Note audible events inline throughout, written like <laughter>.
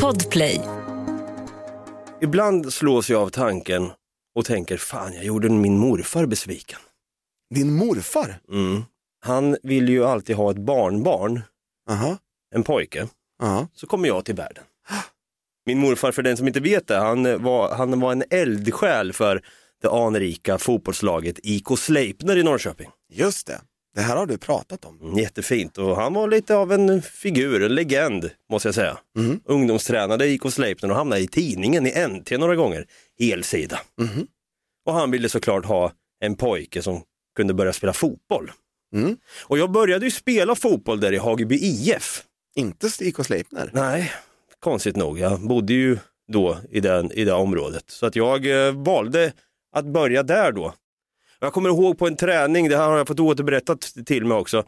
Podplay. Ibland slås jag av tanken och tänker, fan jag gjorde min morfar besviken. Din morfar? Mm. Han ville ju alltid ha ett barnbarn, Aha, en pojke. aha. Så kommer jag till världen. Min morfar, för den som inte vet det, han var, han var en eldsjäl för det anrika fotbollslaget IK Sleipner i Norrköping. Just det. Det här har du pratat om. Mm, Jättefint och han var lite av en figur, en legend måste jag säga. Ungdomstränade i IK Sleipner och hamnade i tidningen i NT några gånger, helsida. Mhm. Och han ville såklart ha en pojke som kunde börja spela fotboll. Mm. Och jag började ju spela fotboll där i Hageby IF. Inte IK Sleipner. Nej, konstigt nog. Jag bodde ju då i, den, i det området. Så att jag eh, valde att börja där då. Jag kommer ihåg på en träning, det här har jag fått återberättat till mig också,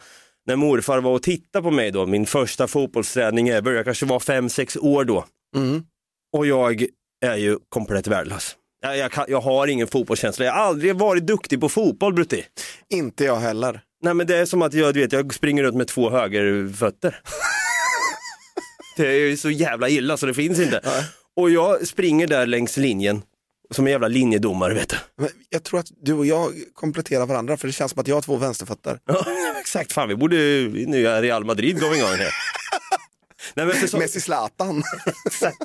när morfar var och tittade på mig då, min första fotbollsträning ever. Jag kanske var fem sex år då. Mm. Och jag är ju komplett värdelös. Jag, jag, kan, jag har ingen fotbollskänsla. Jag har aldrig varit duktig på fotboll, Brutti. Inte jag heller. Nej men det är som att jag, du vet, jag springer runt med två högerfötter. <laughs> det är ju så jävla illa så det finns inte. Och jag springer där längs linjen, som en jävla linjedomare vet du. Men jag tror att du och jag kompletterar varandra för det känns som att jag har två vänsterfötter. Ja, Exakt, fan vi borde ju nya Real Madrid gång igång <laughs> här. Nej, men för så, Messi Zlatan. exakt.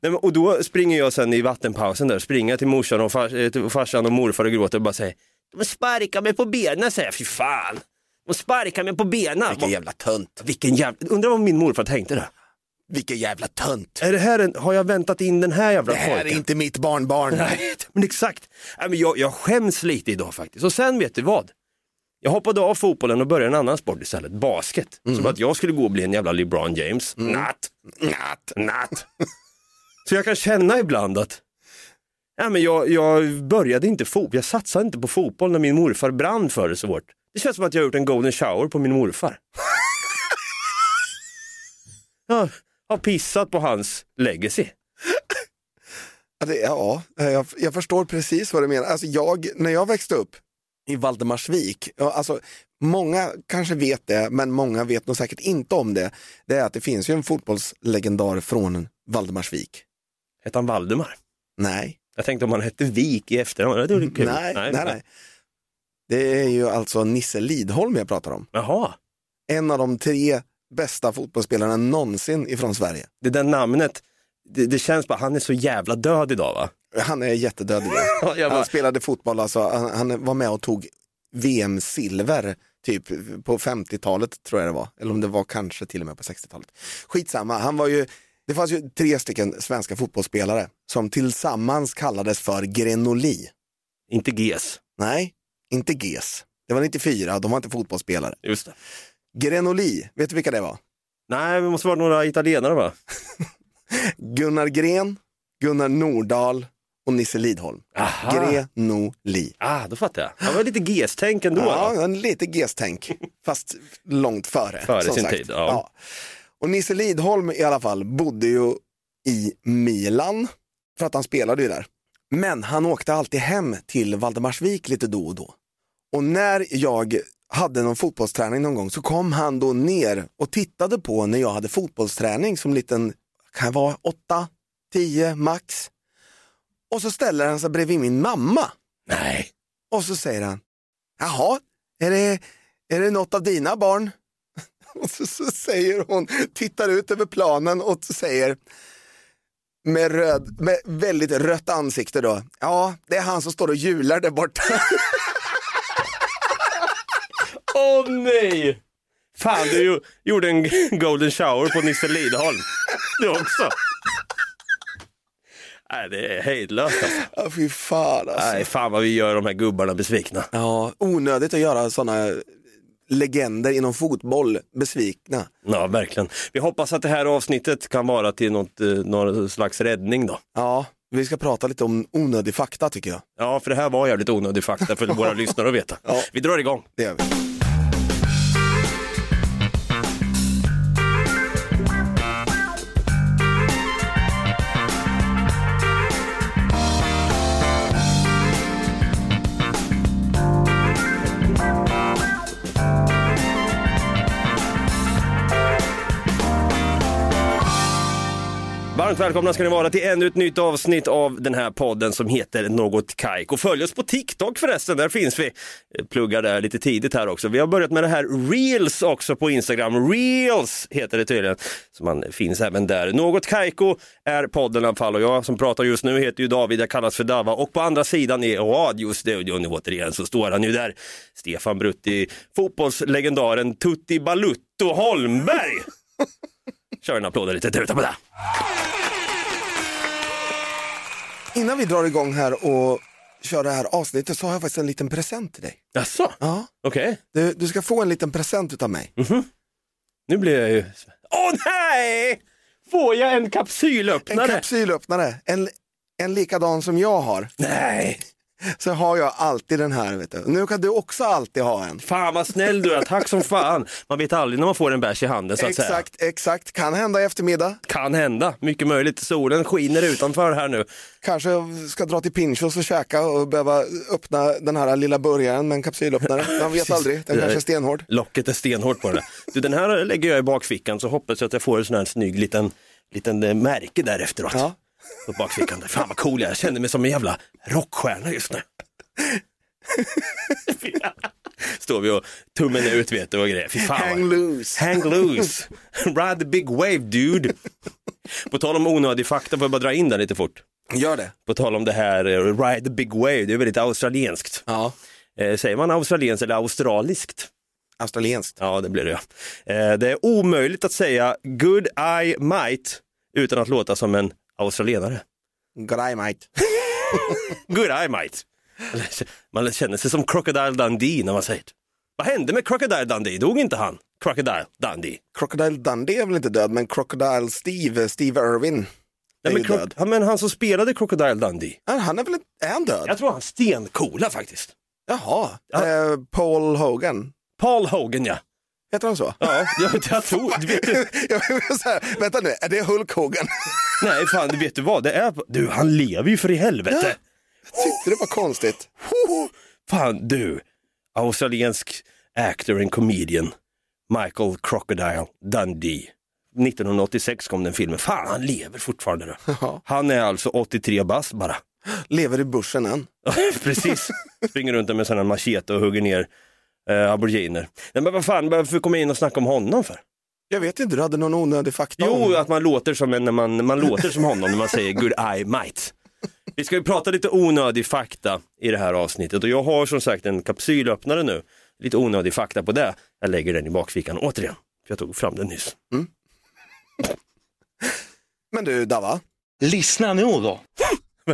Nej, men, och då springer jag sen i vattenpausen där, springer till morsan och far, eh, till farsan och morfar och gråter och bara säger De sparkar mig på benen säger jag, fy fan. De sparkar mig på benen. Vilken jävla tönt. Vilken jävla, undrar vad min morfar tänkte där. Vilken jävla tönt. Är det här en, har jag väntat in den här jävla Det här är pojken? inte mitt barnbarn. Nej, <laughs> men exakt. Nej, men jag, jag skäms lite idag faktiskt. Och sen vet du vad? Jag hoppade av fotbollen och började en annan sport istället, basket. Mhm. Som att jag skulle gå och bli en jävla LeBron James. Mm. Natt, natt, natt. <laughs> Så jag kan känna ibland att nej, men jag, jag började inte fotboll, jag satsade inte på fotboll när min morfar brann för det så hårt. Det känns som att jag har gjort en golden shower på min morfar. <laughs> jag har pissat på hans legacy. Ja, det, ja eh, jag, jag förstår precis vad du menar. Alltså jag, när jag växte upp i Valdemarsvik, ja, alltså, många kanske vet det, men många vet nog säkert inte om det. Det är att det finns ju en fotbollslegendar från Valdemarsvik. Hette han Valdemar? Nej, Jag tänkte om han hette Vik i efternamn. Det vore kul. nej, nej, nej, Det är ju alltså Nisse Lidholm jag pratar om. Jaha, En av de tre bästa fotbollsspelarna någonsin ifrån Sverige. det där namnet, det, det känns bara, han är så jävla död idag va? Han är jättedöd idag. <laughs> Ja, jag bara- Han spelade fotboll, alltså, han, han var med och tog VM-silver typ på 50-talet tror jag det var. Eller om det var kanske till och med på 60-talet. Skitsamma, han var ju, det fanns ju tre stycken svenska fotbollsspelare som tillsammans kallades för Grenoli. Inte GES. Nej, inte GES. Det var 94, de var inte fotbollsspelare. Just det. Grenoli, vet du vilka det var? Nej, det måste vara några italienare va? Gunnar Gren, Gunnar Nordahl och Nisse Lidholm. Aha. Grenoli. Ah, då fattar jag. Han var lite GES-tänk ändå. Ja, va? en lite gestänk, <laughs> fast långt före. Före som sin sagt. tid, ja. Och Nisse Lidholm i alla fall bodde ju i Milan, för att han spelade ju där. Men han åkte alltid hem till Valdemarsvik lite då och då. Och när jag hade någon fotbollsträning någon gång så kom han då ner och tittade på när jag hade fotbollsträning som liten, kan jag vara 8, 10 max. Och så ställer han sig bredvid min mamma. Nej. Och så säger han, jaha, är det, är det något av dina barn? <laughs> Och så, så säger hon, tittar ut över planen och så säger, med, röd, med väldigt rött ansikte då, ja, det är han som står och hjular där borta. <laughs> Åh nej! Fan, du ju, gjorde en <laughs> golden shower på Nisse Lidholm. Du också. Nej, det är hejdlöst alltså. Ja, fy fan alltså. Nej, fan vad vi gör de här gubbarna besvikna. Ja, onödigt att göra sådana legender inom fotboll besvikna. Ja, verkligen. Vi hoppas att det här avsnittet kan vara till något, eh, någon slags räddning då. Ja, vi ska prata lite om onödig fakta tycker jag. Ja, för det här var jävligt onödig fakta för våra lyssnare att veta. Ja. Vi drar igång. Det gör vi. Varmt välkomna ska ni vara till ännu ett nytt avsnitt av den här podden som heter Något Kaiko. Följ oss på TikTok förresten, där finns vi. Eh, Pluggar där lite tidigt här också. Vi har börjat med det här Reels också på Instagram. Reels heter det tydligen. Så man finns även där. Något Kaiko är podden i alla fall och jag som pratar just nu heter ju David, jag kallas för Dava och på andra sidan är radiostudion återigen så står han ju där. Stefan Brutti, fotbollslegendaren Tutti Balutto Holmberg. Kör en applåd och lite tuta på det. Innan vi drar igång här och kör det här avsnittet så har jag faktiskt en liten present till dig. Jaså? Ja. Okej, Du, du ska få en liten present utav mig. Mm. nu blir jag ju... Åh nej! Får jag en En kapsylöppnare? kapsylöppnare, en, en likadan som jag har. nej! Så har jag alltid den här. Vet du. Nu kan du också alltid ha en. Fan vad snäll du är, tack som fan. Man vet aldrig när man får en bärs i handen så att säga. Exakt, exakt. Kan hända i eftermiddag. Kan hända, mycket möjligt. Solen skiner utanför här nu. Kanske ska dra till Pinchos och käka och behöva öppna den här lilla burgaren med en kapsylöppnare. Man vet Precis. aldrig, den kanske är stenhård. Eh, Locket är stenhårt på den. där. Du, den här lägger jag i bakfickan så hoppas jag att jag får en sån här snygg liten, liten eh, märke där efteråt. Ja. På bakfickan. där. Fan vad cool jag är, jag känner mig som en jävla rockstjärna just <laughs> nu. Står vi och tummen är ut vet du och grejer. Fy fan vad- Hang loose. Hang loose. Ride the big wave dude. På tal om onödig fakta, får jag bara dra in den lite fort. Gör det. På tal om det här, eh, ride the big wave, det är väldigt australienskt. Ja. Eh, säger man australienskt eller australiskt? Australienskt. Ja, det blir det. ja. Eh, Det är omöjligt att säga good I might utan att låta som en australienare. G'day mate. Good I might. Man känner sig som Crocodile Dundee när man säger det. Vad hände med Crocodile Dundee? Dog inte han? Crocodile Dundee. Crocodile Dundee är väl inte död, men Crocodile Steve, Steve Irwin, Nej, är men, ju Cro- död. ja, men han som spelade Crocodile Dundee. Ja, Han är väl inte, är han död? Jag tror han stencoola faktiskt. Jaha, Ja. Eh, Paul Hogan, Paul Hogan ja. heter han så? <laughs> Ja, jag, jag tror, du vet du, <laughs> Jag blev så här, vänta nu, är det Hulk Hogan? <laughs> nej fan, du vet du vad, det är, du han lever ju för i helvete. Tyckte det var konstigt. Fan du, australiensk actor and comedian Michael Crocodile Dundee. 1986 kom den filmen. Fan, han lever fortfarande. Då. Ja. Han är alltså 83 bast bara. <laughs> Lever i börsen än. Precis, springer runt där med sådana machete och hugger ner eh, aboriginer. Nej men vad fan, varför kommer jag in och snacka om honom för? Jag vet inte, du hade någon onödig fakta Jo, om. att man låter som, en, när man, man låter som honom när man säger good I might. Vi ska ju prata lite onödig fakta i det här avsnittet och jag har som sagt en kapsylöppnare nu. Lite onödig fakta på det. Jag lägger den i bakfickan återigen. För jag tog fram den nyss. Men du Dava, Lyssna nu då.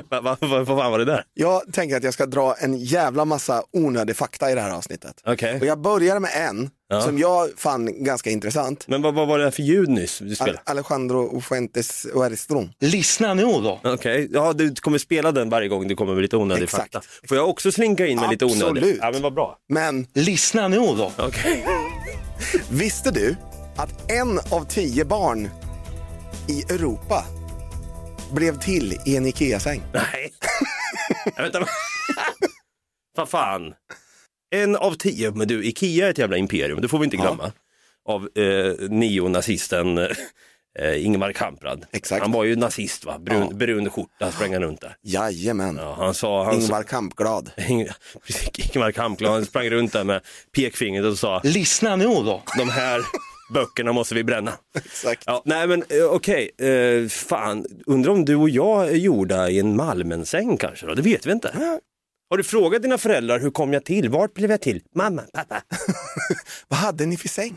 Vad <laughs> va, va, vad fan var det där? jag tänker att jag ska dra en jävla massa onödig fakta i det här avsnittet. Okej. Och jag börjar med en Ja. som jag fann ganska intressant. Men vad, vad var det för ljud nyss du Al- spelade? Alejandro Fuentes Oerstrom. Lyssna nu då. Okej, ja du kommer spela den varje gång du kommer med lite onödig Exakt. fakta. Får jag också slinka in med lite onödig? Absolut. Ja men vad bra. Men Lyssna nu då. Okej. Visste du att en av tio barn i Europa blev till i en Ikea-säng? Nej. Jag vet inte. Vad fan. En av tio, men du, Ikea är ett jävla imperium, det får vi inte glömma. Av eh, neonazisten eh, Ingemar Kamprad. Exakt. Han var ju nazist va, brun, Ja. brun skjorta sprang han runt där. Jajamän. Ja, alltså- han sa, han Ingvar Kampglad. sa, <laughs> Precis, Ingemar Kamprad, han sprang runt där med pekfingret och sa, Lyssna nu då. de här böckerna måste vi bränna. <laughs> Exakt. Ja, nej men eh, okej, eh, fan, undrar om du och jag är gjorda i en Malmensäng kanske då? Det vet vi inte. Har du frågat dina föräldrar, hur kom jag till? Vart blev jag till? Mamma, pappa. Vad hade ni för säng?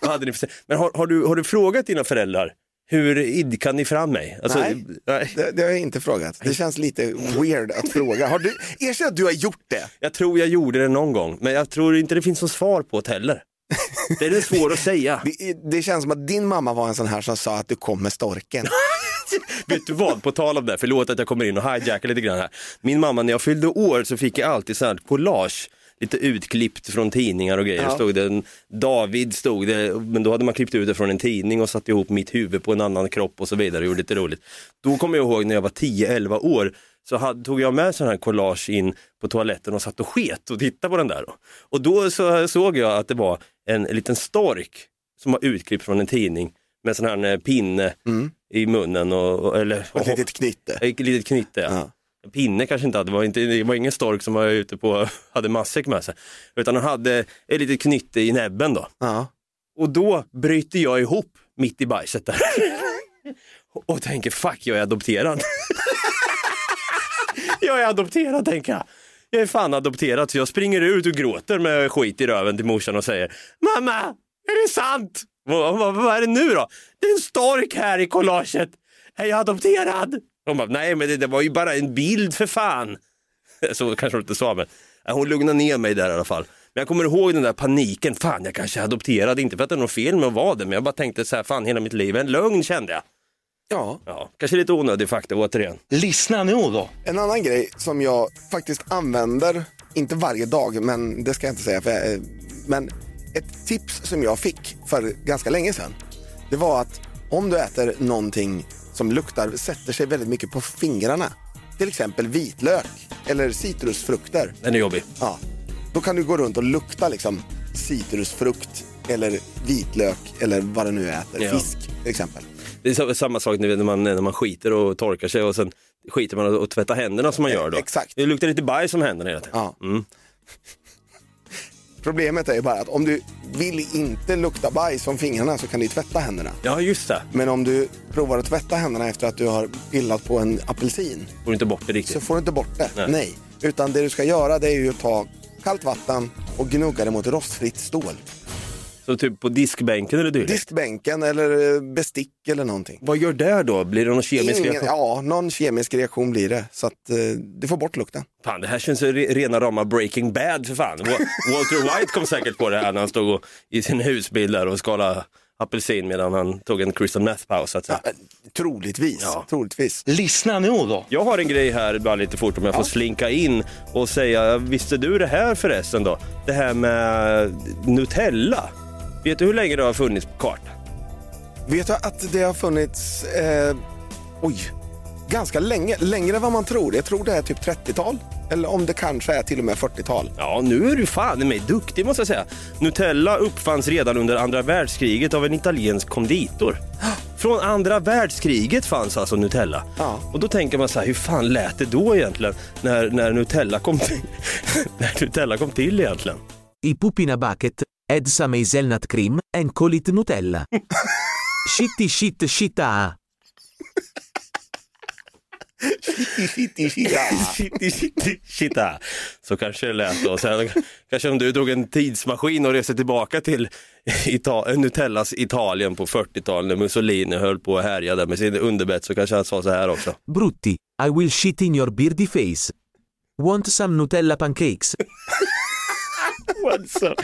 Vad hade ni för... Men har, har, du, har du frågat dina föräldrar, hur idkade ni fram mig? Alltså, Nej. nej. Det, det har jag inte frågat. Det känns lite weird att fråga. Har du, erkänn att du har gjort det. Jag tror jag gjorde det någon gång, men jag tror inte det finns något svar på det heller. Det är det svårt att säga. det. Det känns som att din mamma var en sån här som sa att du kom med storken. Vet du vad, på tal om det, förlåt att jag kommer in och hijackar lite grann här. Min mamma när jag fyllde år så fick jag alltid så här collage, lite utklippt från tidningar och grejer. Ja. Stod det en, David stod det, men då hade man klippt ut det från en tidning och satt ihop mitt huvud på en annan kropp och så vidare och gjorde lite roligt. Då kommer jag ihåg när jag var 10-11 år så hade, tog jag med sån här collage in på toaletten och satt och sket och tittade på den där. då. Och då så såg jag att det var en liten stork som var utklippt från en tidning med sån här eh, pinne Mm. i munnen och, och eller Och ett litet knyte. ett litet knyte. Ja. Ja. Pinne kanske inte hade, det var, inte, det var ingen stork som var ute på, <laughs> hade matsäck med sig. Utan han hade ett litet knytte i näbben då. Ja. Och då bryter jag ihop mitt i bajset där. Och tänker, fuck jag är adopterad. <laughs> jag är adopterad tänker jag. Jag är fan adopterad så jag springer ut och gråter med skit i röven till morsan och säger, mamma, är det sant? Vad, vad, vad är det nu då? Det är en stork här i collaget. Är jag adopterad? Hon bara, nej men det, det var ju bara en bild för fan. <laughs> Så kanske hon inte sa, men ja, hon lugnade ner mig där i alla fall. Men jag kommer ihåg den där paniken, fan jag kanske är adopterad, inte för att det är något fel med att vara det, men jag bara tänkte så här, fan hela mitt liv är en lögn kände jag. ja. Ja, kanske lite onödig fakta återigen. Lyssna nu då. En annan grej som jag faktiskt använder, inte varje dag, men det ska jag inte säga. För, jag- eh, men ett tips som jag fick för ganska länge sedan, det var att om du äter någonting som luktar, sätter sig väldigt mycket på fingrarna, till exempel vitlök eller citrusfrukter, Den är jobbig. ja, då kan du gå runt och lukta liksom citrusfrukt eller vitlök eller vad du nu äter, Ja. fisk till exempel. Det är sam- samma sak när man, när man skiter och torkar sig och sen skiter man och, och tvättar händerna som man gör då. Exakt. Det luktar lite bajs om händerna hela tiden. Ja. Problemet är ju bara att om du vill inte lukta bajs om fingrarna så kan du ju tvätta händerna. Ja, just det. Men om du provar att tvätta händerna efter att du har pillat på en apelsin Får inte bort det riktigt. så får du inte bort det. Nej. Nej. Utan det du ska göra det är ju att ta kallt vatten och gnugga det mot rostfritt stål. Så typ på diskbänken eller dylikt. Diskbänken eller eh, bestick eller någonting. Vad gör det då? Blir det någon kemisk Ingen- reaktion? Ja, någon kemisk reaktion blir det. Så att eh, du får bort lukten. Fan, det här känns ju re- rena rama Breaking Bad för fan. Wa- Walter White kom säkert på det här när han stod och, i sin husbil där och skalade apelsin medan han tog en crystal meth-paus. så att säga. Eh, Troligtvis. Ja. Troligtvis. Lyssna nu då. Jag har en grej här bara lite fort om jag får slinka in och säga, visste du det här förresten då? Det här med Nutella. Vet du hur länge det har funnits på kartan? Vet du att det har funnits, eh, oj, ganska länge. Längre än vad man tror. Jag tror det är typ 30-tal. Eller om det kanske är till och med 40-tal. Ja, nu är du fan i mig duktig måste jag säga. Nutella uppfanns redan under andra världskriget av en italiensk konditor. Från andra världskriget fanns alltså Nutella. Ja. Och då tänker man så här, hur fan lät det då egentligen? När, när, Nutella, kom till, <laughs> när Nutella kom till egentligen. I Pupina Bucket, Edsa Hazelnut Cream, and Call It Nutella. Shitty shit shit ah. <laughs> Shitty, shitty, shitta. Så kanske det lät då. Sen, kanske om du drog en tidsmaskin och reste tillbaka till Ita- Nutellas Italien på 40-talet när Mussolini höll på att härja där med sin underbett så kanske han sa så här också. Brutti, I will shit in your beardy face. Want some Nutella pancakes? Alltså,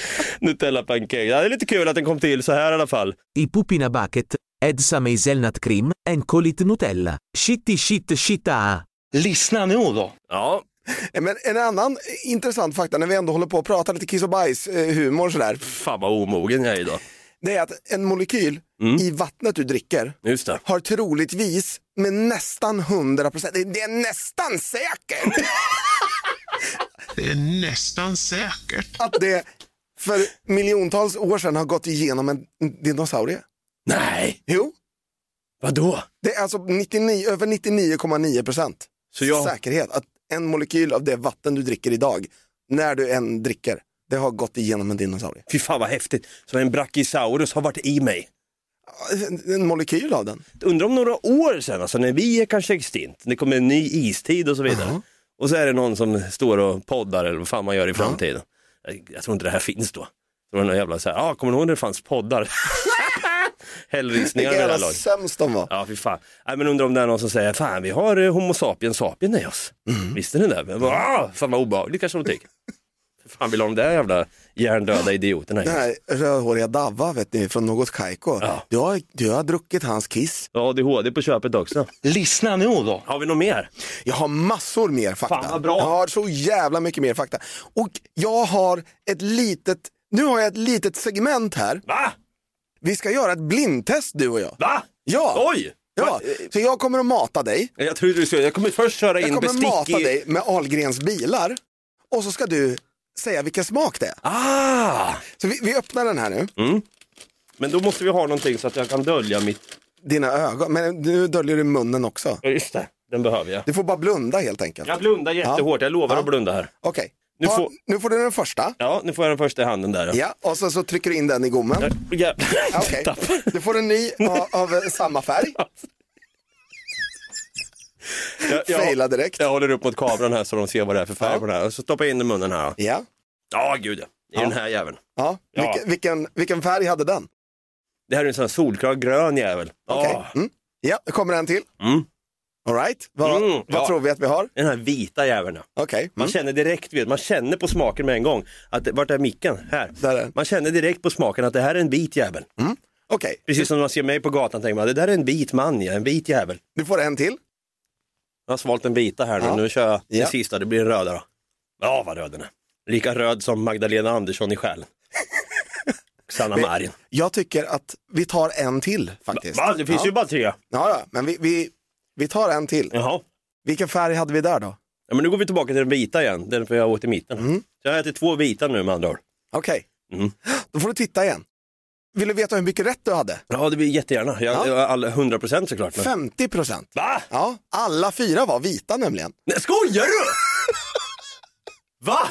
Nutella pancake. Ja, det är lite kul att den kom till så här i alla fall. I Pupina Bucket, Edsa Hazelnut Cream, and Call It Nutella. Shitty shit shit ah. Lyssna nu då. Ja, Men en annan intressant fakta när vi ändå håller på att prata lite kiss och bajs, eh, humor och sådär. fan vad omogen jag är idag. Det är att en molekyl i vattnet du dricker Just det. har troligtvis med nästan 100 procent, det är nästan säkert <laughs> Det är nästan säkert. att det för miljontals år sedan har gått igenom en dinosaurie. Nej, Jo, vadå? Det är alltså 99, över 99,9 procent Så jag- säkerhet att en molekyl av det vatten du dricker idag, när du än dricker, det har gått igenom en dinosaurie. Fy fan vad häftigt. Så en brachiosaurus har varit i mig. En- En molekyl av den. undrar om några år sedan, alltså när vi är kanske extinkt, det kommer en ny istid och så vidare. Och så är det någon som står och poddar eller vad fan man gör i framtiden. Jag, jag tror inte det här finns då. Så var det någon jävla så här, ah, kommer du ihåg när det fanns poddar? Hällristningar Vilka med det här jävla laget. sämst de var. Ja, fy fan. Nej, men undrar om det är någon som säger, fan vi har eh, Homo sapiens sapien i oss. Mm. Visste ni det? Men bara, ah, fan vad obehagligt kanske de tycker. fan vill ha de där jävla hjärndöda idioterna. i Den oss? här rödhåriga Davva vet ni, från något Kaiko. Ja. Du, har, du har druckit hans kiss. Ja, ADHD på köpet också. Lyssna nu då. Har vi något mer? Jag har massor mer fakta. Fan, vad bra. Jag har så jävla mycket mer fakta. Och jag har ett litet, nu har jag ett litet segment här. Va? Vi ska göra ett blindtest du och jag. Va? Ja. Oj! Eh, Ja, så jag kommer att mata dig. Jag trodde du skulle, jag kommer först köra Jag in kommer mata bestick i... dig med Ahlgrens bilar och så ska du säga vilken smak det är. Ah! Så vi, vi öppnar den här nu. Men då måste vi ha någonting så att jag kan dölja mitt... Dina ögon, men nu döljer du munnen också. Ja, just det. Den behöver jag. Du får bara blunda helt enkelt. Jag blundar jättehårt. Jag lovar Ja. att blunda här. Okej, Nu Ta- får- nu får du den första. Ja, nu får jag den första i handen där. Ja, och sen så trycker du in den i gommen. <laughs> Ja. Okej, Tappar. du får <laughs> en ny av, av eh, samma färg. Jag, Faila jag, direkt. jag håller upp mot kameran här så de ser vad det är för färg på den här. Och så stoppar jag in den i munnen här. Ja. Ja, gud ja. I den här jäveln. ja. Ja. Vilken, vilken, vilken färg hade den? Det här är en sån här solklar grön jävel. Ja. Okej. Mm. Ja, det kommer en till. Mm. All right. Vad, Mm, vad ja. Mm. tror vi att vi har? Den här vita jäveln. ja. Okej. Mm. Man känner direkt, vet, man känner på smaken med en gång. Att, det- vart är micken? Här. Där är den. Man känner direkt på smaken att det här är en bit jävel. Okej, Precis som när man ser mig på gatan tänker man, det där är en bit man, ja, en bit jävel. du får en till. Jag har svalt en bita här nu, Ja. nu kör jag Ja. den sista, det blir den röda då. Ja, vad röd den är. Lika röd som Magdalena Andersson i <laughs> själen. Sanna Marin. Jag tycker att vi tar en till faktiskt. Va, det finns ja. ju Mm. bara tre. Ja, ja, men vi, vi, vi tar en till. Jaha. Vilken färg hade vi där då? Ja, men nu går vi tillbaka till den vita igen, den för jag åt i mitten. Så jag har ätit två vita nu med andra ord. Okej, Mm. då får du titta igen. Vill du veta hur mycket rätt du hade? Ja, det blir jättegärna. Jag, Ja. jag, alla- 100 procent såklart. Men... 50 procent. Va? Ja, alla fyra var vita nämligen. Nej, skojar <laughs> du? Va?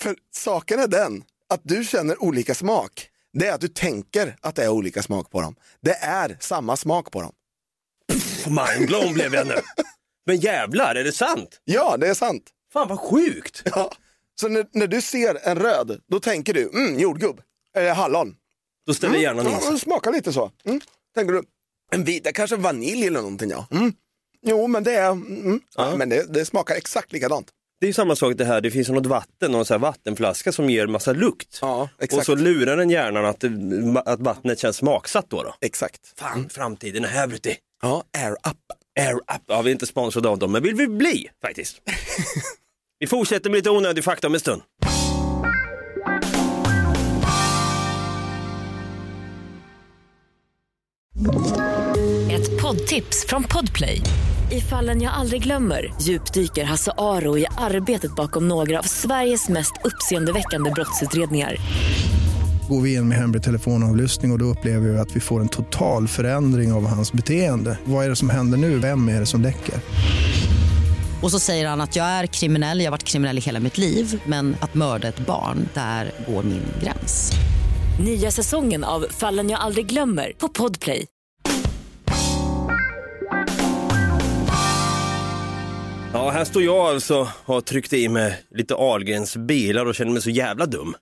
För saken är den att du känner olika smak. Det är att du tänker att det är olika smak på dem. Det är samma smak på dem. Mindblown blev jag nu. Men jävlar, är det sant? Ja, det är sant. <laughs> Fan vad sjukt. Ja. Så när, när du ser en röd, då tänker du mm, jordgubb, eller hallon. Då ställer Mm, hjärnan in ja, sig. det smakar lite så. Mm. Tänker du, en vit, det kanske är vanilj eller någonting ja. Mm. Jo, men det är, mm, mm. Ja. men det, det smakar exakt likadant. Det är ju samma sak det här, det finns något vatten, någon så här vattenflaska som ger massa lukt. Ja, och exakt. så lurar den hjärnan att, det- att vattnet känns smaksatt då. då. Exakt. Fan, framtiden är här bruti. Ja, air up. Air up. Ja, vi är inte sponsrade av dem, men vill vi bli faktiskt. vi fortsätter med lite onödig fakta om en stund. Ett poddtips från Podplay. I fallen jag aldrig glömmer djupdyker Hasse Aro i arbetet bakom några av Sveriges mest uppseendeväckande brottsutredningar. går vi in med hemlig telefonavlyssning och, och då upplever vi att vi får en total förändring av hans beteende. Vad är det som händer nu? Vem är det som läcker? Och så säger han att jag är kriminell, jag har varit kriminell i hela mitt liv men att mörda ett barn, där går min gräns. Nya säsongen av Fallen jag aldrig glömmer på Podplay. Ja, här står jag alltså och har tryckt i mig lite Ahlgrens bilar och känner mig så jävla dum.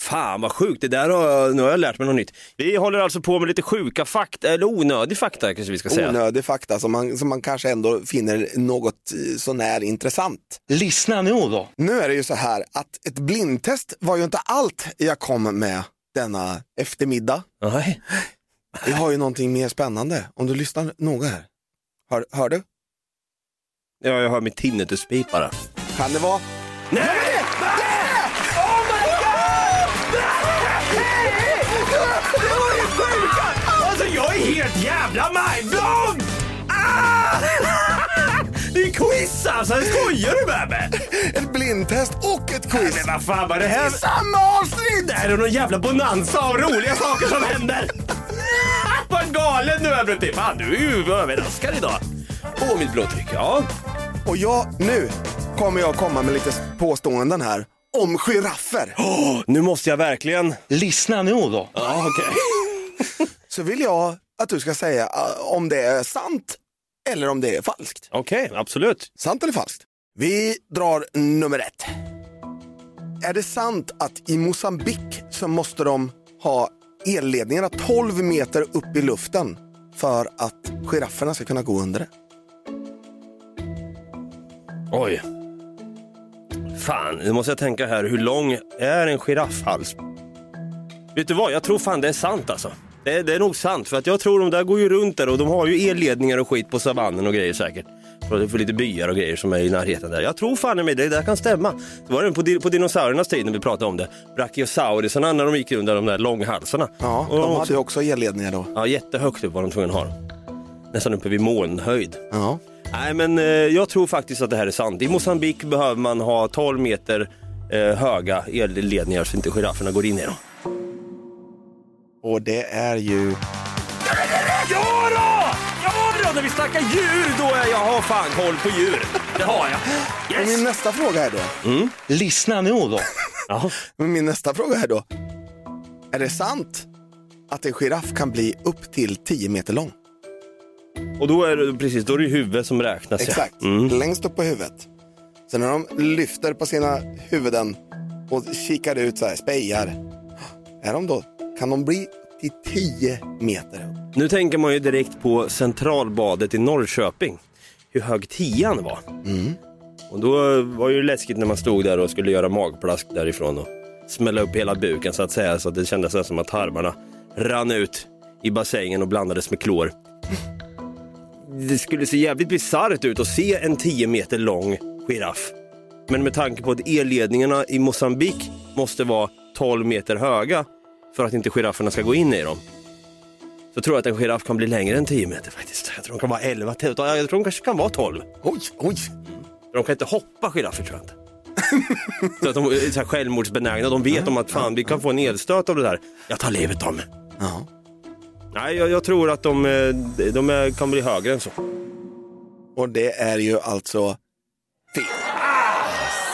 Fan vad sjukt, det där har jag, nu har jag lärt mig något nytt. Vi håller alltså på med lite sjuka fakta, eller onödig fakta kanske vi ska säga. Onödig fakta som man, som man kanske ändå finner något eh, sånär intressant. Lyssna nu då. Nu är det ju så här att ett blindtest var ju inte allt jag kom med denna eftermiddag. Nej. Vi har ju någonting mer spännande om du lyssnar noga här. Hör, hör du? Ja, jag hör mitt tinnitusbeep bara. Kan det vara? Nej! Oh Alltså jag är helt jävla mindblown! Ah! Det är quiz alltså, skojar du med mig? Ett blindtest och ett Men quiz! vad fan var det här? Samma avsnitt! Det här är någon jävla bonanza av roliga saker som händer! Vad galen du är Brutti! Fan du är ju överraskad idag. På mitt blodtryck, ja. Och jag, nu kommer jag komma med lite påståenden här om giraffer. Åh, nu måste jag verkligen... Lyssna nu då. Ja, okej. Så vill jag att du ska säga eh, om det är sant eller om det är falskt. Okej, absolut. Sant eller falskt? Vi drar nummer ett. Är det sant att i Mosambik så måste de ha elledningarna 12 meter upp i luften för att girafferna ska kunna gå under det? Oj. Fan, nu måste jag tänka här. Hur lång är en giraffhals? Vet du vad, jag tror fan det är sant alltså. Det är, det är nog sant, för att jag tror de där går ju runt där och de har ju elledningar och skit på savannen och grejer säkert. För det är lite byar och grejer som är i närheten där. Jag tror fan i mig det där kan stämma. Det var det på, di- på dinosauriernas tid när vi pratade om det. Brachiosaurusarna när de gick runt där, de där långhalsarna. Ja, Och de hade också- ju också elledningar då. ja, jättehögt upp var de tvungna att ha. Nästan uppe vid molnhöjd. Ja. Nej, men eh, jag tror faktiskt att det här är sant. I Mosambik behöver man ha 12 meter eh, höga elledningar så inte girafferna går in i dem. Och det är ju... Ja då! Ja då! När vi snackar djur då är jag har fan koll på djur. Det har jag. Och min nästa fråga är då. Lyssna nu då. Men min nästa fråga är då. Är det sant att en giraff kan bli upp till 10 meter lång? Och då är det precis, då är det huvudet som räknas. ja. Exakt, Mm. längst upp på huvudet. Sen när de lyfter på sina huvuden och kikar ut så här, spejar. Är de då, kan de bli till 10 meter upp? Nu tänker man ju direkt på Centralbadet i Norrköping. Hur hög tian var. Och då var ju läskigt när man stod där och skulle göra magplask därifrån och smälla upp hela buken så att säga så att det kändes nästan som att tarmarna rann ut i bassängen och blandades med klor. Det skulle se jävligt bisarrt ut att se en 10 meter lång giraff. Men med tanke på att elledningarna i Mosambik måste vara 12 meter höga för att inte girafferna ska gå in i dem. Så tror jag att en giraff kan bli längre än 10 meter faktiskt. Jag tror de kan vara 11, 12, jag tror de kanske kan vara 12. Oj, oj! De kan inte hoppa giraffer tror jag inte. så att de är så här självmordsbenägna. De vet om att fan, vi kan få en elstöt av det där. Jag tar livet av mig. Ja. Nej, jag, jag tror att de, eh, de är, kan bli högre än så. Och det är ju alltså fel.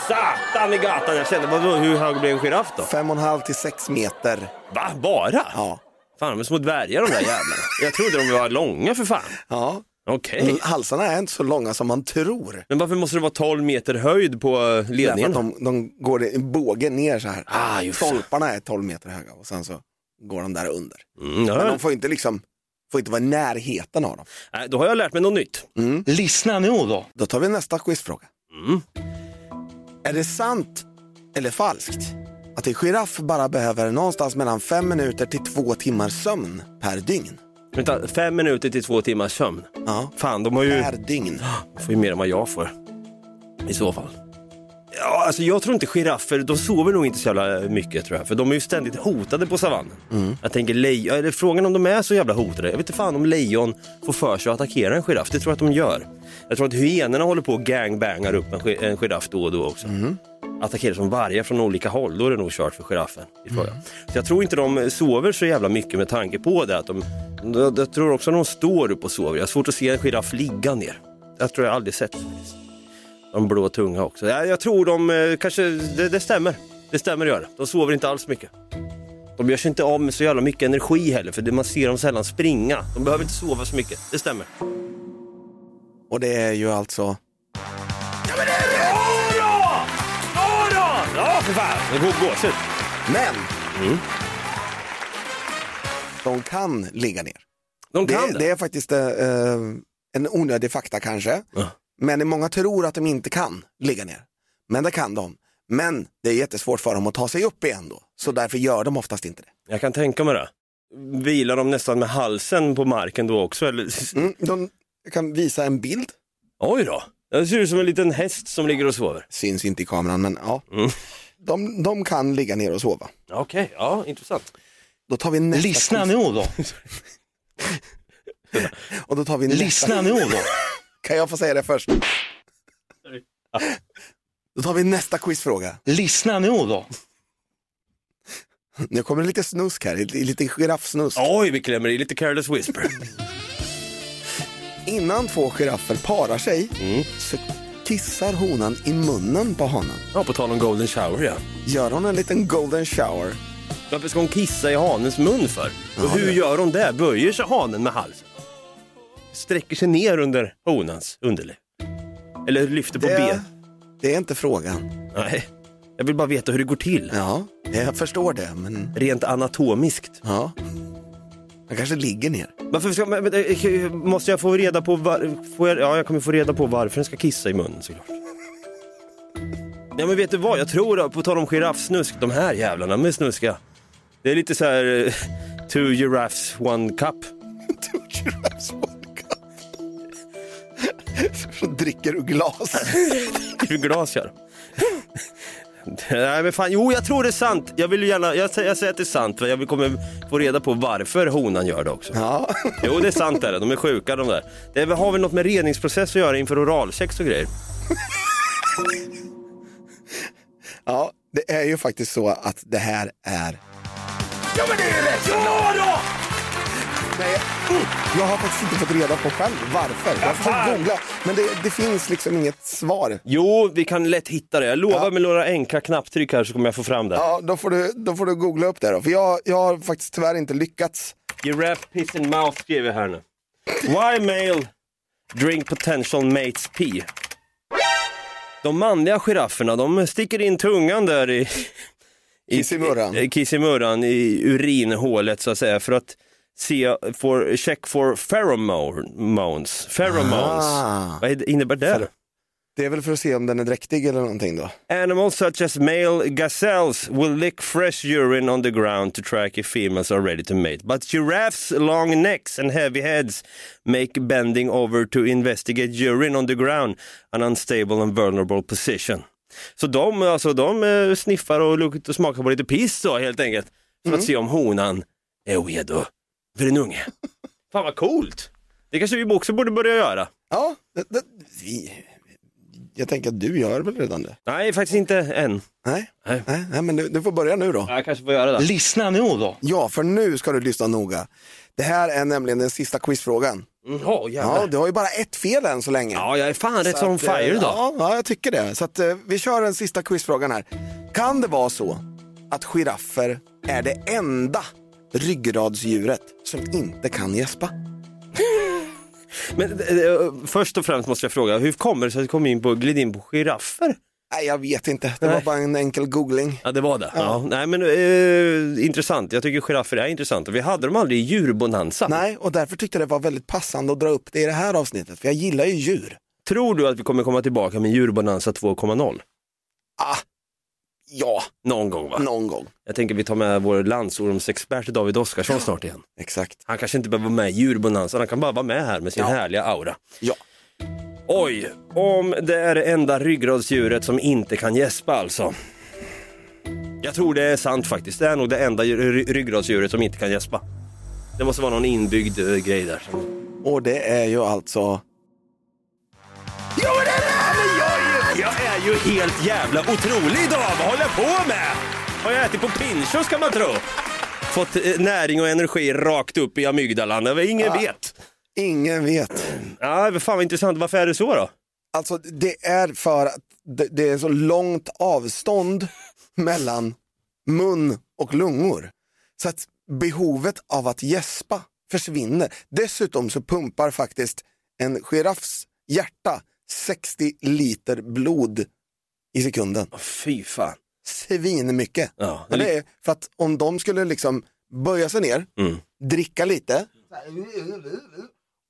Satan i gatan! Jag kände, vadå, hur hög blir en giraff då? 5,5 till 6 meter. Va, bara? Ja. Fan, de är små dvärgar de där jävlarna. jag trodde de var långa för fan. ja. Okej. Mm. Halsarna är inte så långa som man tror. Men varför måste det vara 12 meter höjd på eh, Därför ledningen? att de, de går i båge ner så här. Ah, just det. Stolparna är 12 meter höga och sen så går de där under. Mm, ja. Men de får inte liksom, får inte vara i närheten av dem. Nej, då har jag lärt mig något nytt. Lyssna nu då. Då tar vi nästa quizfråga. Mm. Är det sant eller falskt att en giraff bara behöver någonstans mellan 5 minuter till 2 timmar sömn per dygn? Vänta, fem minuter till två timmars sömn. Ja, Fan, de har ju... per dygn. De får ju mer än vad jag får. I så fall. Ja, alltså jag tror inte giraffer, de sover nog inte så jävla mycket tror jag. För de är ju ständigt hotade på savannen. Jag tänker lejon, eller frågan om de är så jävla hotade. Jag vet inte fan om lejon får för sig att attackera en giraff. Det tror jag att de gör. Jag tror att hyenorna håller på och gangbangar upp en, gi- en giraff då och då också. Attackerar som vargar från olika håll, då är det nog kört för giraffen. i frågan. Så jag tror inte de sover så jävla mycket med tanke på det. Att de, jag, jag tror också att de står upp och sover. Jag har svårt att se en giraff ligga ner. Jag tror jag aldrig sett faktiskt. De blå tunga också. Jag, jag tror de eh, kanske, det, det stämmer. Det stämmer gör det. De sover inte alls mycket. De gör sig inte av med så jävla mycket energi heller för det, man ser dem sällan springa. De behöver inte sova så mycket. Det stämmer. Och det är ju alltså... Ja, för fan! Det går gåshud. Men! Mm. De kan ligga ner. De Det, kan det. det är faktiskt eh, en onödig fakta kanske. Ja. Men många tror att de inte kan ligga ner. Men det kan de. Men det är jättesvårt för dem att ta sig upp igen då. Så därför gör de oftast inte det. Jag kan tänka mig det. Vilar de nästan med halsen på marken då också? Eller? Mm, de jag kan visa en bild. Oj då! Det ser ut som en liten häst som ligger och sover. Syns inte i kameran men ja. Mm. De, de kan ligga ner och sova. Okej, ja intressant. Då tar vi nästa Lyssna quiz. nu då. Och då tar vi nästa Lyssna nu då. <laughs> Kan jag få säga det <laughs> först? Då tar vi nästa quizfråga. Lyssna nu då. Nu kommer det lite snusk här, lite, lite giraffsnusk. Oj, vi klämmer i lite careless whisper. Innan två giraffer parar sig Mm. så kissar honan i munnen på hanen. <laughs> ja, på tal om golden shower ja. Gör hon en liten golden shower. Varför ska hon kissa i hanens mun för? Och hur gör hon det? Böjer sig hanen med halsen? Sträcker sig ner under honans underliv? Eller lyfter på ben? Det, det är inte frågan. Nej, jag vill bara veta hur det går till. Ja, jag förstår det, men Rent anatomiskt. ja. Han kanske ligger ner. <laughs> Varför ska, men, men, eh, måste jag få reda på var, får jag, Ja, jag kommer få reda på varför den ska kissa i munnen såklart. Ja men vet du vad, jag tror, på tal om giraffsnusk, de här jävlarna med snuska. Det är lite så här, eh, two giraffes one cup. Two giraffes, one cup. Så dricker ur glas. <laughs> Hur glas gör Nej men fan, jo jag tror det är sant. Jag vill ju gärna, jag, sä- jag säger att det är sant. för Jag vill- kommer få reda på varför honan gör det också. Ja. Jo det är sant är det, de är sjuka de där. Det är- har väl något med reningsprocess att göra inför oralsex och grejer. ja, det är ju faktiskt så att det här är Ja men det är ju rätt! Ja då! Nej, mm, jag har faktiskt inte fått reda på själv varför. Jag har försökt googla, men det, det finns liksom inget svar. Jo, vi kan lätt hitta det. Jag lovar med några enkla knapptryck här så kommer jag få fram det. Ja, då får du, då får du googla upp det då. För jag, jag har faktiskt tyvärr inte lyckats. Giraffe piss in mouth skriver jag här nu. Why male drink potential mates pee? De manliga girafferna, de sticker in tungan där i... i- Kissimurran. i- Kissimurran, i urinhålet så att säga, för att se, for, check for pheromones. Pheromones. Ah. Vad innebär det? Det är väl för att se om den är dräktig eller någonting då. Animals such as male gazelles will lick fresh urine on the ground to track if females are ready to mate. But giraffes' long necks and heavy heads make bending over to investigate urine on the ground an unstable and vulnerable position. Så de, alltså, de eh, sniffar och luktar och smakar på lite piss då, helt enkelt. För att se om honan är redo för en unge. <laughs> Fan vad coolt! Det kanske vi också borde börja göra. Ja, det, det, vi, jag tänker att du gör väl redan det? Nej, faktiskt inte än. Nej, Nej. nej, nej men du, du får börja nu då. Jag kanske får göra det. Lyssna nu då. Ja, för nu ska du lyssna noga. Det här är nämligen den sista quizfrågan. Jaha, Ja, du har ju bara ett fel än så länge. Ja, jag är fan rätt Så som att, fire eh, idag. Ja, ja, jag tycker det. Så att, eh, vi kör den sista quizfrågan här. Kan det vara så att giraffer är det enda ryggradsdjuret som inte kan gäspa? Men eh, först och främst måste jag fråga, hur kommer det sig att du kom in på, glid in på giraffer? Nej, jag vet inte. Det var Nej. bara en enkel googling. Ja, det var det. Ja. Nej, men eh, intressant. Jag tycker giraffer är intressanta. Vi hade dem aldrig i djurbonanza. Nej, och därför tyckte jag det var väldigt passande att dra upp det i det här avsnittet, för jag gillar ju djur. Tror du att vi kommer komma tillbaka med djurbonanza 2.0? Ah, ja, Någon gång va? någon gång. Jag tänker vi tar med vår landsormsexpert David Oskarsson snart igen. Exakt. Han kanske inte behöver vara med i djurbonanza, han kan bara vara med här med sin härliga aura. Ja. Oj, om det är det enda ryggradsdjuret som inte kan gäspa alltså. Jag tror det är sant faktiskt. Det är nog det enda ry- ryggradsdjuret som inte kan gäspa. Det måste vara någon inbyggd eh, grej där. Och det är ju alltså... Jag är ju helt jävla otrolig idag. Vad håller jag på med? Har jag ätit på pinchos kan man tro. Fått eh, näring och energi rakt upp i amygdalan. Det var Ingen vet. Ingen vet. Ja, vad fan vad intressant. Varför är det så då? Alltså det är för att det, det är så långt avstånd mellan mun och lungor. Så att behovet av att gäspa försvinner. Dessutom så pumpar faktiskt en giraffs hjärta 60 liter blod i sekunden. Åh, Fy fan. Svinmycket. Ja, Men det är för att om de skulle liksom böja sig ner, Mm. dricka lite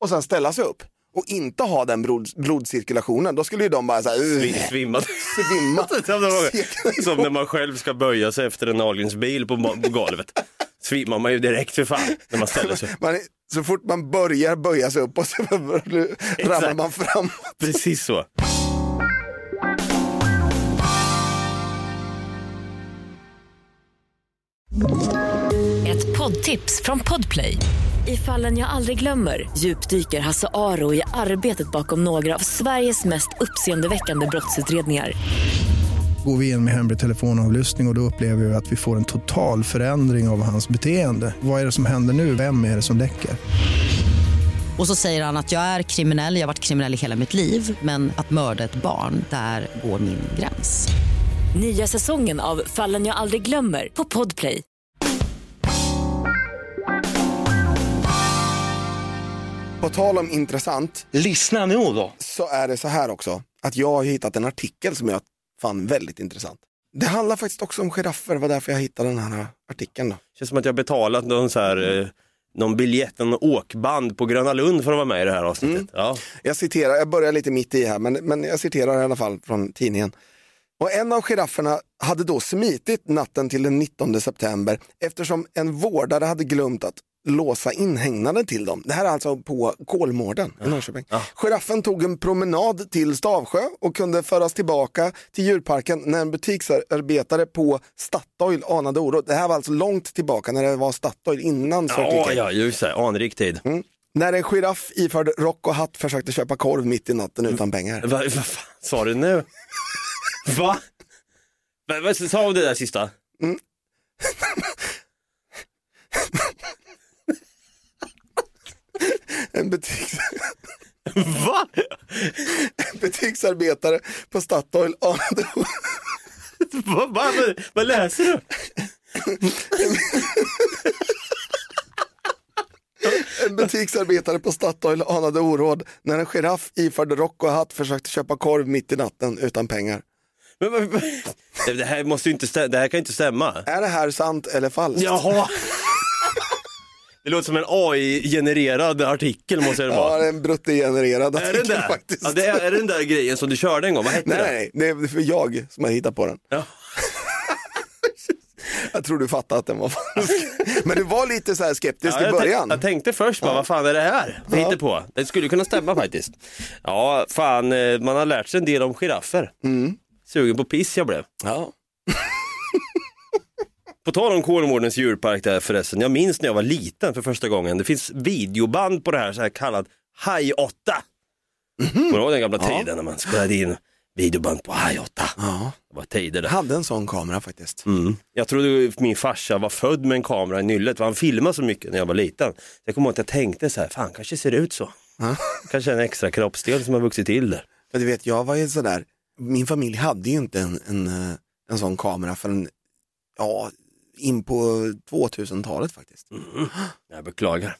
och sen ställa sig upp och inte ha den blod, blodcirkulationen, då skulle ju de bara så här, <laughs> Svimmade. svimma. <laughs> Som när man själv ska böja sig efter en algensbil på ma- på golvet. Svimmar man ju direkt för fan när man ställer sig. Man, är- så fort man börjar böja sig upp och så <laughs> ramlar man fram. <laughs> Precis så. Ett poddtips från Podplay. I fallen jag aldrig glömmer djupdyker Hasse Aro i arbetet bakom några av Sveriges mest uppseendeväckande brottsutredningar. Går vi in med hemlig telefonavlyssning och, och då upplever vi att vi får en total förändring av hans beteende. Vad är det som händer nu? Vem är det som läcker? Och så säger han att jag är kriminell, jag har varit kriminell i hela mitt liv men att mörda ett barn, där går min gräns. Nya säsongen av Fallen jag aldrig glömmer på Podplay. På tal om intressant Lyssna nu då. så är det så här också, att jag har hittat en artikel som jag fann väldigt intressant. Det handlar faktiskt också om giraffer, det var därför jag hittade den här artikeln. Då. Känns som att jag betalat någon, så här, eh, någon biljett, någon åkband på Gröna Lund för att vara med i det här avsnittet. Ja. Jag citerar, jag börjar lite mitt i här, men, men jag citerar i alla fall från tidningen. Och en av girafferna hade då smitit natten till den 19 september eftersom en vårdare hade glömt att låsa inhägnaden till dem. Det här är alltså på Kolmården i Norrköping. Giraffen tog en promenad till Stavsjö och kunde föras tillbaka till djurparken när en butiksarbetare på Statoil anade oro. Det här var alltså långt tillbaka när det var Statoil innan Circle Ja, K. ja, just det. Anrik tid. När en giraff iförd rock och hatt försökte köpa korv mitt i natten Mm. utan pengar. Vad va, fan sa du nu? Va? Vad va, sa du det där sista? en, butiks, <laughs> Va? en butiksarbetare på Statoil anade Vad, vad, vad, vad läser du? <laughs> En butiksarbetare på Statoil anade oråd när en giraff iförd rock och hatt försökte köpa korv mitt i natten utan pengar. Men, vad- vad- det här måste ju inte stämma. Det här kan ju inte stämma. Är det här sant eller falskt? Jaha. Det låter som en AI-genererad artikel måste det Ja, vara. det är en bruttogenererad Är den artikel där? faktiskt. Ja, det är, är den där grejen som du körde en gång? Vad hette Nej, det? nej, nej, det är för jag som har hittat på den. Ja. Jag tror du fattade att den var falsk. <laughs> Men du var lite så här skeptisk Ja, i jag, tänk- början. jag tänkte först bara, vad fan är det här? Vad hittar på? Det skulle kunna stämma faktiskt. Ja, fan, eh, man har lärt sig en del om giraffer. Mm. Sugen på piss jag blev. ja. På tal om Kolmårdens djurpark där förresten, jag minns när jag var liten för första gången. Det finns videoband på det här så här kallat Haj 8. Kommer du ihåg den gamla tiden när man spelade in videoband på Haj 8? ja, Det var tider jag där. hade en sån kamera faktiskt. Mm. Jag trodde min farsa var född med en kamera i nyllet, för han filmade så mycket när jag var liten. Så jag kommer ihåg att jag tänkte så här, fan kanske ser det ut så. Ja. Kanske en extra kroppsdel som har vuxit till där. Men du vet, jag var ju sådär, min familj hade ju inte en, en, eh, en sån kamera förrän, ja, in på 2000-talet faktiskt. Jag beklagar.